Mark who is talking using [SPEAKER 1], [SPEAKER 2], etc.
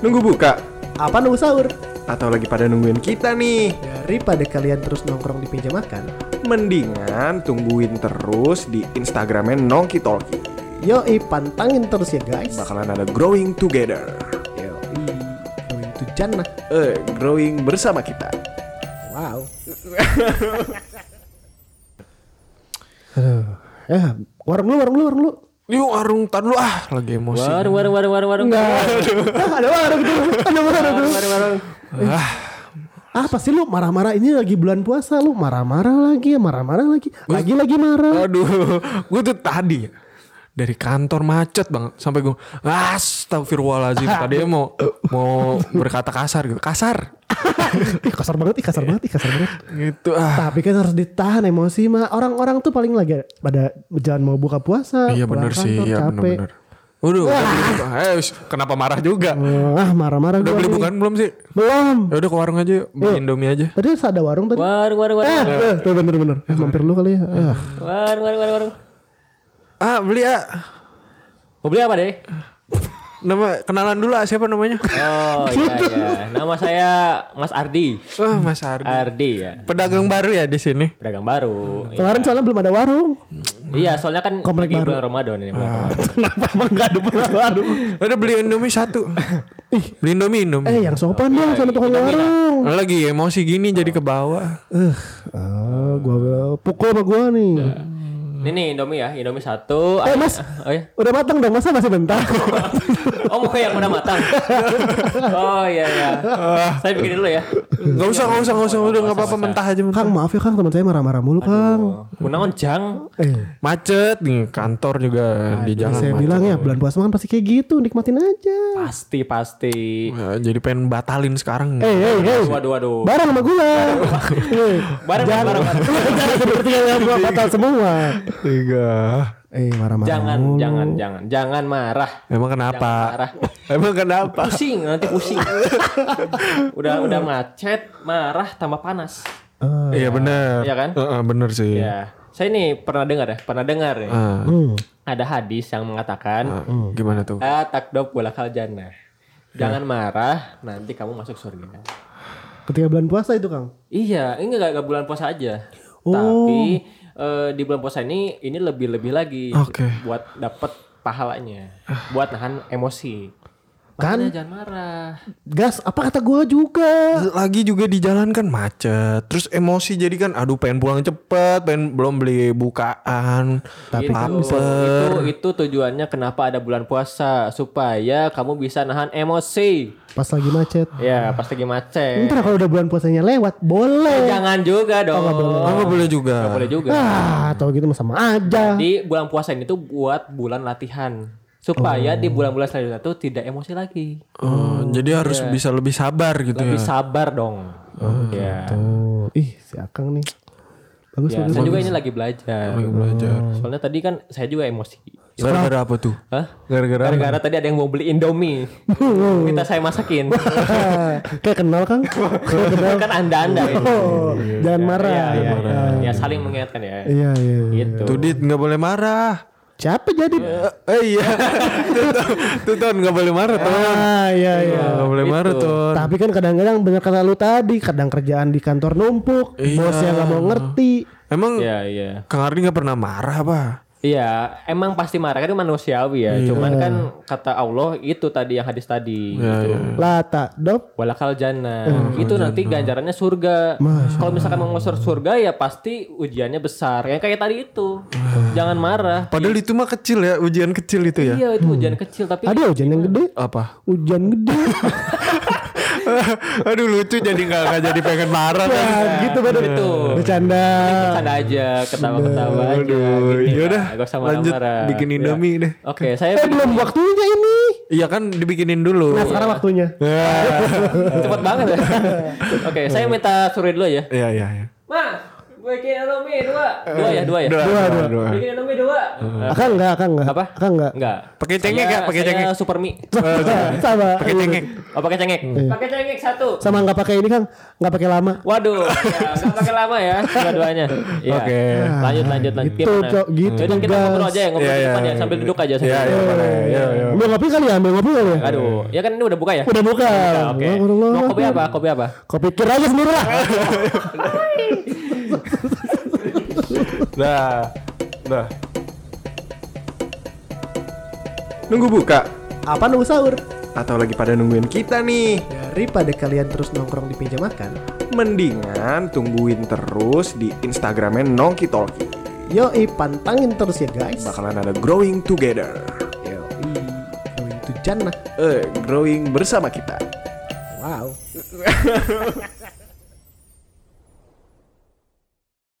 [SPEAKER 1] Nunggu buka?
[SPEAKER 2] Apa nunggu sahur?
[SPEAKER 1] Atau lagi pada nungguin kita nih?
[SPEAKER 2] Daripada kalian terus nongkrong di meja makan,
[SPEAKER 1] Mendingan tungguin terus di Instagramnya Nongki Talki.
[SPEAKER 2] yoi pantangin terus ya guys.
[SPEAKER 1] Bakalan ada growing together.
[SPEAKER 2] Yoi, going to jannah.
[SPEAKER 1] Eh, growing bersama kita.
[SPEAKER 2] Wow. Aduh. Ya, warung lu, warung lu, warung lu.
[SPEAKER 1] Yuk warung tar dulu ah, lagi emosi.
[SPEAKER 3] Warung, warung, warung, warung, warung.
[SPEAKER 2] Ah, ada warung tuh, ada warung tuh.
[SPEAKER 3] Warung, warung.
[SPEAKER 1] Ah,
[SPEAKER 2] Ah, pasti lu marah-marah ini lagi bulan puasa lu marah-marah lagi, marah-marah lagi, lagi lagi marah.
[SPEAKER 3] Oh.
[SPEAKER 4] Aduh, gue tuh tadi ya, dari kantor macet banget sampai gue astagfirullahalazim tadi mau mau berkata kasar gitu kasar
[SPEAKER 2] Ih, kasar banget, ih, kasar
[SPEAKER 3] Iya.
[SPEAKER 2] banget, ih, kasar banget.
[SPEAKER 4] gitu ah
[SPEAKER 2] Tapi kan harus ditahan emosi mah. Orang-orang tuh paling lagi pada jalan mau buka puasa.
[SPEAKER 4] iya
[SPEAKER 2] pulang
[SPEAKER 4] bener sih
[SPEAKER 2] kantor,
[SPEAKER 4] iya
[SPEAKER 2] capek.
[SPEAKER 4] bener-bener Waduh, udah beli bukan. Eh, wis, kenapa marah juga?
[SPEAKER 2] Ah, marah-marah
[SPEAKER 4] Udah
[SPEAKER 2] gua
[SPEAKER 4] beli
[SPEAKER 2] nih.
[SPEAKER 4] bukan belum sih?
[SPEAKER 2] Belum.
[SPEAKER 4] Ya udah ke warung aja yuk, beli Indomie aja.
[SPEAKER 2] Tadi ada warung tadi.
[SPEAKER 3] Warung, warung,
[SPEAKER 2] Eh,
[SPEAKER 3] warung.
[SPEAKER 2] eh, tuh bener-bener. Eh, mampir lu kali ya.
[SPEAKER 4] Iya.
[SPEAKER 2] Ah.
[SPEAKER 3] Warung, warung, warung, warung.
[SPEAKER 4] Ah, beli ah.
[SPEAKER 3] Mau beli apa deh?
[SPEAKER 4] Nama kenalan dulu ah, siapa namanya?
[SPEAKER 3] Oh iya, iya. Nama saya Mas Ardi.
[SPEAKER 4] Wah, Mas Ardi.
[SPEAKER 3] Ardi ya.
[SPEAKER 4] Pedagang baru ya di sini.
[SPEAKER 3] Pedagang baru.
[SPEAKER 2] Kemarin soalnya belum ada warung.
[SPEAKER 3] Iya, soalnya kan
[SPEAKER 2] Komplek
[SPEAKER 3] lagi
[SPEAKER 2] baru. Ah.
[SPEAKER 3] bulan Ramadan ini. bulan Ramadan.
[SPEAKER 2] Kenapa emang gak ada warung?
[SPEAKER 4] Udah beli Indomie satu. beli Indomie, Indomie.
[SPEAKER 2] Eh, yang sopan dong sama tukang
[SPEAKER 3] Iya,
[SPEAKER 2] warung.
[SPEAKER 4] Lagi emosi gini jadi ke bawah.
[SPEAKER 2] Eh, ah, gua pukul sama gua nih.
[SPEAKER 3] Ini nih Indomie ya, Indomie satu.
[SPEAKER 2] Eh, Mas.
[SPEAKER 3] Iya. Oh iya.
[SPEAKER 2] Udah matang dong, masa masih bentar?
[SPEAKER 3] Oh mau yang udah matang. Oh iya iya.
[SPEAKER 2] Ah.
[SPEAKER 3] Saya bikin dulu ya.
[SPEAKER 4] Gak usah, gak usah, gak usah. Udah gak apa-apa mentah aja mentah.
[SPEAKER 2] Kang, maaf ya Kang, teman saya marah-marah mulu, Kang.
[SPEAKER 3] Kunaon jang.
[SPEAKER 2] Eh,
[SPEAKER 4] Macet di kantor juga di jalan.
[SPEAKER 2] saya
[SPEAKER 4] macet.
[SPEAKER 2] bilang ya, bulan puasa kan pasti kayak gitu, nikmatin aja.
[SPEAKER 3] Pasti pasti.
[SPEAKER 4] Ya, jadi pengen batalin sekarang.
[SPEAKER 2] Eh, eh, eh.
[SPEAKER 3] Waduh waduh.
[SPEAKER 2] Bareng sama gua. Eh,
[SPEAKER 3] Bareng bareng. bareng.
[SPEAKER 2] Jangan seperti yang gua batal semua.
[SPEAKER 4] Tiga.
[SPEAKER 2] Eh, marah-marah.
[SPEAKER 3] Jangan
[SPEAKER 2] mulu.
[SPEAKER 3] jangan jangan jangan marah.
[SPEAKER 4] Emang kenapa?
[SPEAKER 3] Jangan marah.
[SPEAKER 4] Emang kenapa?
[SPEAKER 3] Pusing nanti pusing. udah udah macet, marah tambah panas.
[SPEAKER 2] Ah,
[SPEAKER 4] Iya bener.
[SPEAKER 3] Iya kan?
[SPEAKER 4] Heeh, bener sih.
[SPEAKER 3] Ya. Saya nih pernah dengar ya, pernah dengar ya.
[SPEAKER 4] Ah,
[SPEAKER 2] hmm.
[SPEAKER 3] Ada hadis yang mengatakan
[SPEAKER 4] ah, gimana tuh?
[SPEAKER 3] Ah, takdob walakal jannah. Jangan marah, nanti kamu masuk surga.
[SPEAKER 2] Ketika bulan puasa itu, Kang.
[SPEAKER 3] Iya, ini gak, bulan puasa aja. Tapi eh, di bulan puasa ini ini lebih-lebih lagi
[SPEAKER 4] Oke.
[SPEAKER 3] buat dapet pahalanya, buat nahan emosi.
[SPEAKER 2] Kan?
[SPEAKER 3] Makanya jangan marah.
[SPEAKER 2] Gas, apa kata gua juga?
[SPEAKER 4] Lagi juga di jalan kan macet. Terus emosi jadi kan aduh pengen pulang cepet, pengen belum beli bukaan.
[SPEAKER 2] Tapi kan
[SPEAKER 3] itu, Gitu. itu itu tujuannya kenapa ada bulan puasa supaya kamu bisa nahan emosi.
[SPEAKER 2] Pas lagi macet.
[SPEAKER 3] Ya, pas lagi macet. Eh,
[SPEAKER 2] Ntar kalau udah bulan puasanya lewat, boleh.
[SPEAKER 3] Jangan juga dong.
[SPEAKER 4] Oh, nggak boleh juga.
[SPEAKER 3] Nggak boleh juga.
[SPEAKER 2] Ah, atau gitu mah sama aja.
[SPEAKER 3] Iya. Jadi bulan puasa ini tuh buat bulan latihan supaya di bulan-bulan selanjutnya tuh tidak emosi lagi,
[SPEAKER 4] Oh, jadi harus bisa lebih sabar gitu
[SPEAKER 3] Iya. lebih
[SPEAKER 4] ya.
[SPEAKER 3] sabar dong.
[SPEAKER 4] gitu.
[SPEAKER 3] ya.
[SPEAKER 2] Oh, ih, si Akang nih. Bagus,
[SPEAKER 3] Ya,
[SPEAKER 2] bagus.
[SPEAKER 3] saya juga ini lagi belajar.
[SPEAKER 4] Belajar.
[SPEAKER 3] Soalnya tadi kan saya juga emosi.
[SPEAKER 4] Gara-gara apa tuh?
[SPEAKER 3] Hah?
[SPEAKER 4] Gara-gara
[SPEAKER 3] Gara-gara tadi ada yang mau beli Indomie. Minta saya masakin.
[SPEAKER 2] Kayak kenal, Kang. Kayak kenal.
[SPEAKER 3] kan Anda-anda ya.
[SPEAKER 2] Oh, jangan marah.
[SPEAKER 3] Ya,
[SPEAKER 4] Iya,
[SPEAKER 3] ya,
[SPEAKER 2] Jangan
[SPEAKER 3] ya.
[SPEAKER 2] marah.
[SPEAKER 3] Ya, saling mengingatkan ya.
[SPEAKER 2] Iya, iya. iya.
[SPEAKER 3] Gitu.
[SPEAKER 4] Tuh Dit nggak boleh marah.
[SPEAKER 2] Siapa jadi?
[SPEAKER 4] Eh iya. Tuh Ton nggak boleh marah Ton.
[SPEAKER 2] Ah, iya, iya.
[SPEAKER 4] Nggak
[SPEAKER 3] Gitu.
[SPEAKER 4] boleh marah Ton.
[SPEAKER 2] Tapi kan kadang-kadang bener kata lu tadi, kadang kerjaan di kantor numpuk,
[SPEAKER 4] Iya.
[SPEAKER 2] bos yang gak mau ngerti.
[SPEAKER 4] Emang
[SPEAKER 3] Ya, ya.
[SPEAKER 4] Kang Ardi nggak pernah marah apa?
[SPEAKER 3] Iya, emang pasti marah kan itu manusiawi ya.
[SPEAKER 4] Iya.
[SPEAKER 3] Cuman kan kata Allah itu tadi yang hadis tadi.
[SPEAKER 4] Iya,
[SPEAKER 3] gitu.
[SPEAKER 2] Lata, dop.
[SPEAKER 3] Walakal jannah. itu nanti ganjarannya surga. Kalau misalkan mau ngosor surga ya pasti ujiannya besar. Yang kayak tadi itu. Jangan marah.
[SPEAKER 4] Padahal itu mah kecil ya, ujian kecil itu ya.
[SPEAKER 3] Iya, itu ujian kecil tapi
[SPEAKER 2] Ada hujan yang gede.
[SPEAKER 4] Apa?
[SPEAKER 2] Hujan gede.
[SPEAKER 4] Aduh lucu jadi nggak nggak jadi pengen marah. Ton.
[SPEAKER 2] Nah, gitu bener.
[SPEAKER 3] Gitu.
[SPEAKER 2] Bercanda.
[SPEAKER 3] bercanda aja, ketawa-ketawa aja.
[SPEAKER 4] Aduh,
[SPEAKER 3] gini
[SPEAKER 4] yaudah.
[SPEAKER 3] lah. Gak usah
[SPEAKER 4] Lanjut
[SPEAKER 3] marah-marah.
[SPEAKER 4] bikin
[SPEAKER 3] Iya.
[SPEAKER 4] Indomie deh.
[SPEAKER 3] Oke, saya
[SPEAKER 2] Eh, belum waktunya ini.
[SPEAKER 4] Iya kan dibikinin dulu. Iya.
[SPEAKER 2] Nah, sekarang waktunya.
[SPEAKER 3] cepet banget ya. Oke, saya minta suruh dulu ya.
[SPEAKER 4] Iya iya. iya.
[SPEAKER 3] Mas, Bikin Indomie dua. Dua ya, dua ya.
[SPEAKER 2] Dua, dua.
[SPEAKER 3] Bikin Indomie dua.
[SPEAKER 2] Akan enggak, akan enggak.
[SPEAKER 3] Iya. Apa?
[SPEAKER 2] Akan enggak.
[SPEAKER 3] Eh, Enggak.
[SPEAKER 4] Pakai cengek
[SPEAKER 3] Saya-
[SPEAKER 4] nggak? Pakai
[SPEAKER 3] saya
[SPEAKER 4] cengek.
[SPEAKER 3] Super mie.
[SPEAKER 2] Sama.
[SPEAKER 4] Pakai cengek.
[SPEAKER 3] Oh, pakai cengek.
[SPEAKER 4] Iya.
[SPEAKER 3] Pakai cengek satu.
[SPEAKER 2] Sama enggak pakai ini, Kang. Enggak pakai lama.
[SPEAKER 3] Waduh, ya, nggak pakai lama ya dua-duanya. Iya.
[SPEAKER 4] Oke.
[SPEAKER 3] Lanjut, lanjut, lanjut.
[SPEAKER 2] Gitu, Cok, gitu,
[SPEAKER 3] Yaudah, kita
[SPEAKER 2] Bas.
[SPEAKER 3] ngobrol aja ya, ngobrol di depan ya, sambil duduk aja. Sambil
[SPEAKER 4] Iya, iya,
[SPEAKER 3] duduk.
[SPEAKER 4] boleh. Iya, iya.
[SPEAKER 2] Ambil ngopi kali ya, ambil ngopi kali ya.
[SPEAKER 3] Aduh, ya kan ini udah buka ya?
[SPEAKER 2] Udah buka.
[SPEAKER 3] Oke.
[SPEAKER 2] Udah, udah,
[SPEAKER 3] Mau
[SPEAKER 2] udah.
[SPEAKER 3] kopi apa? Kopi apa?
[SPEAKER 2] Kopi kir aja sendiri lah.
[SPEAKER 3] Nah.
[SPEAKER 4] Dah. Dah.
[SPEAKER 1] Nunggu buka
[SPEAKER 2] apa nunggu sahur?
[SPEAKER 1] atau lagi pada nungguin kita nih?
[SPEAKER 2] Daripada kalian terus nongkrong di meja makan,
[SPEAKER 1] Mendingan tungguin terus di Instagramnya Nongki Talki.
[SPEAKER 2] yoi pantangin terus ya guys.
[SPEAKER 1] Bakalan ada growing together.
[SPEAKER 2] Yoi, going to oh, Jannah.
[SPEAKER 1] Eh, growing bersama kita.
[SPEAKER 2] Wow.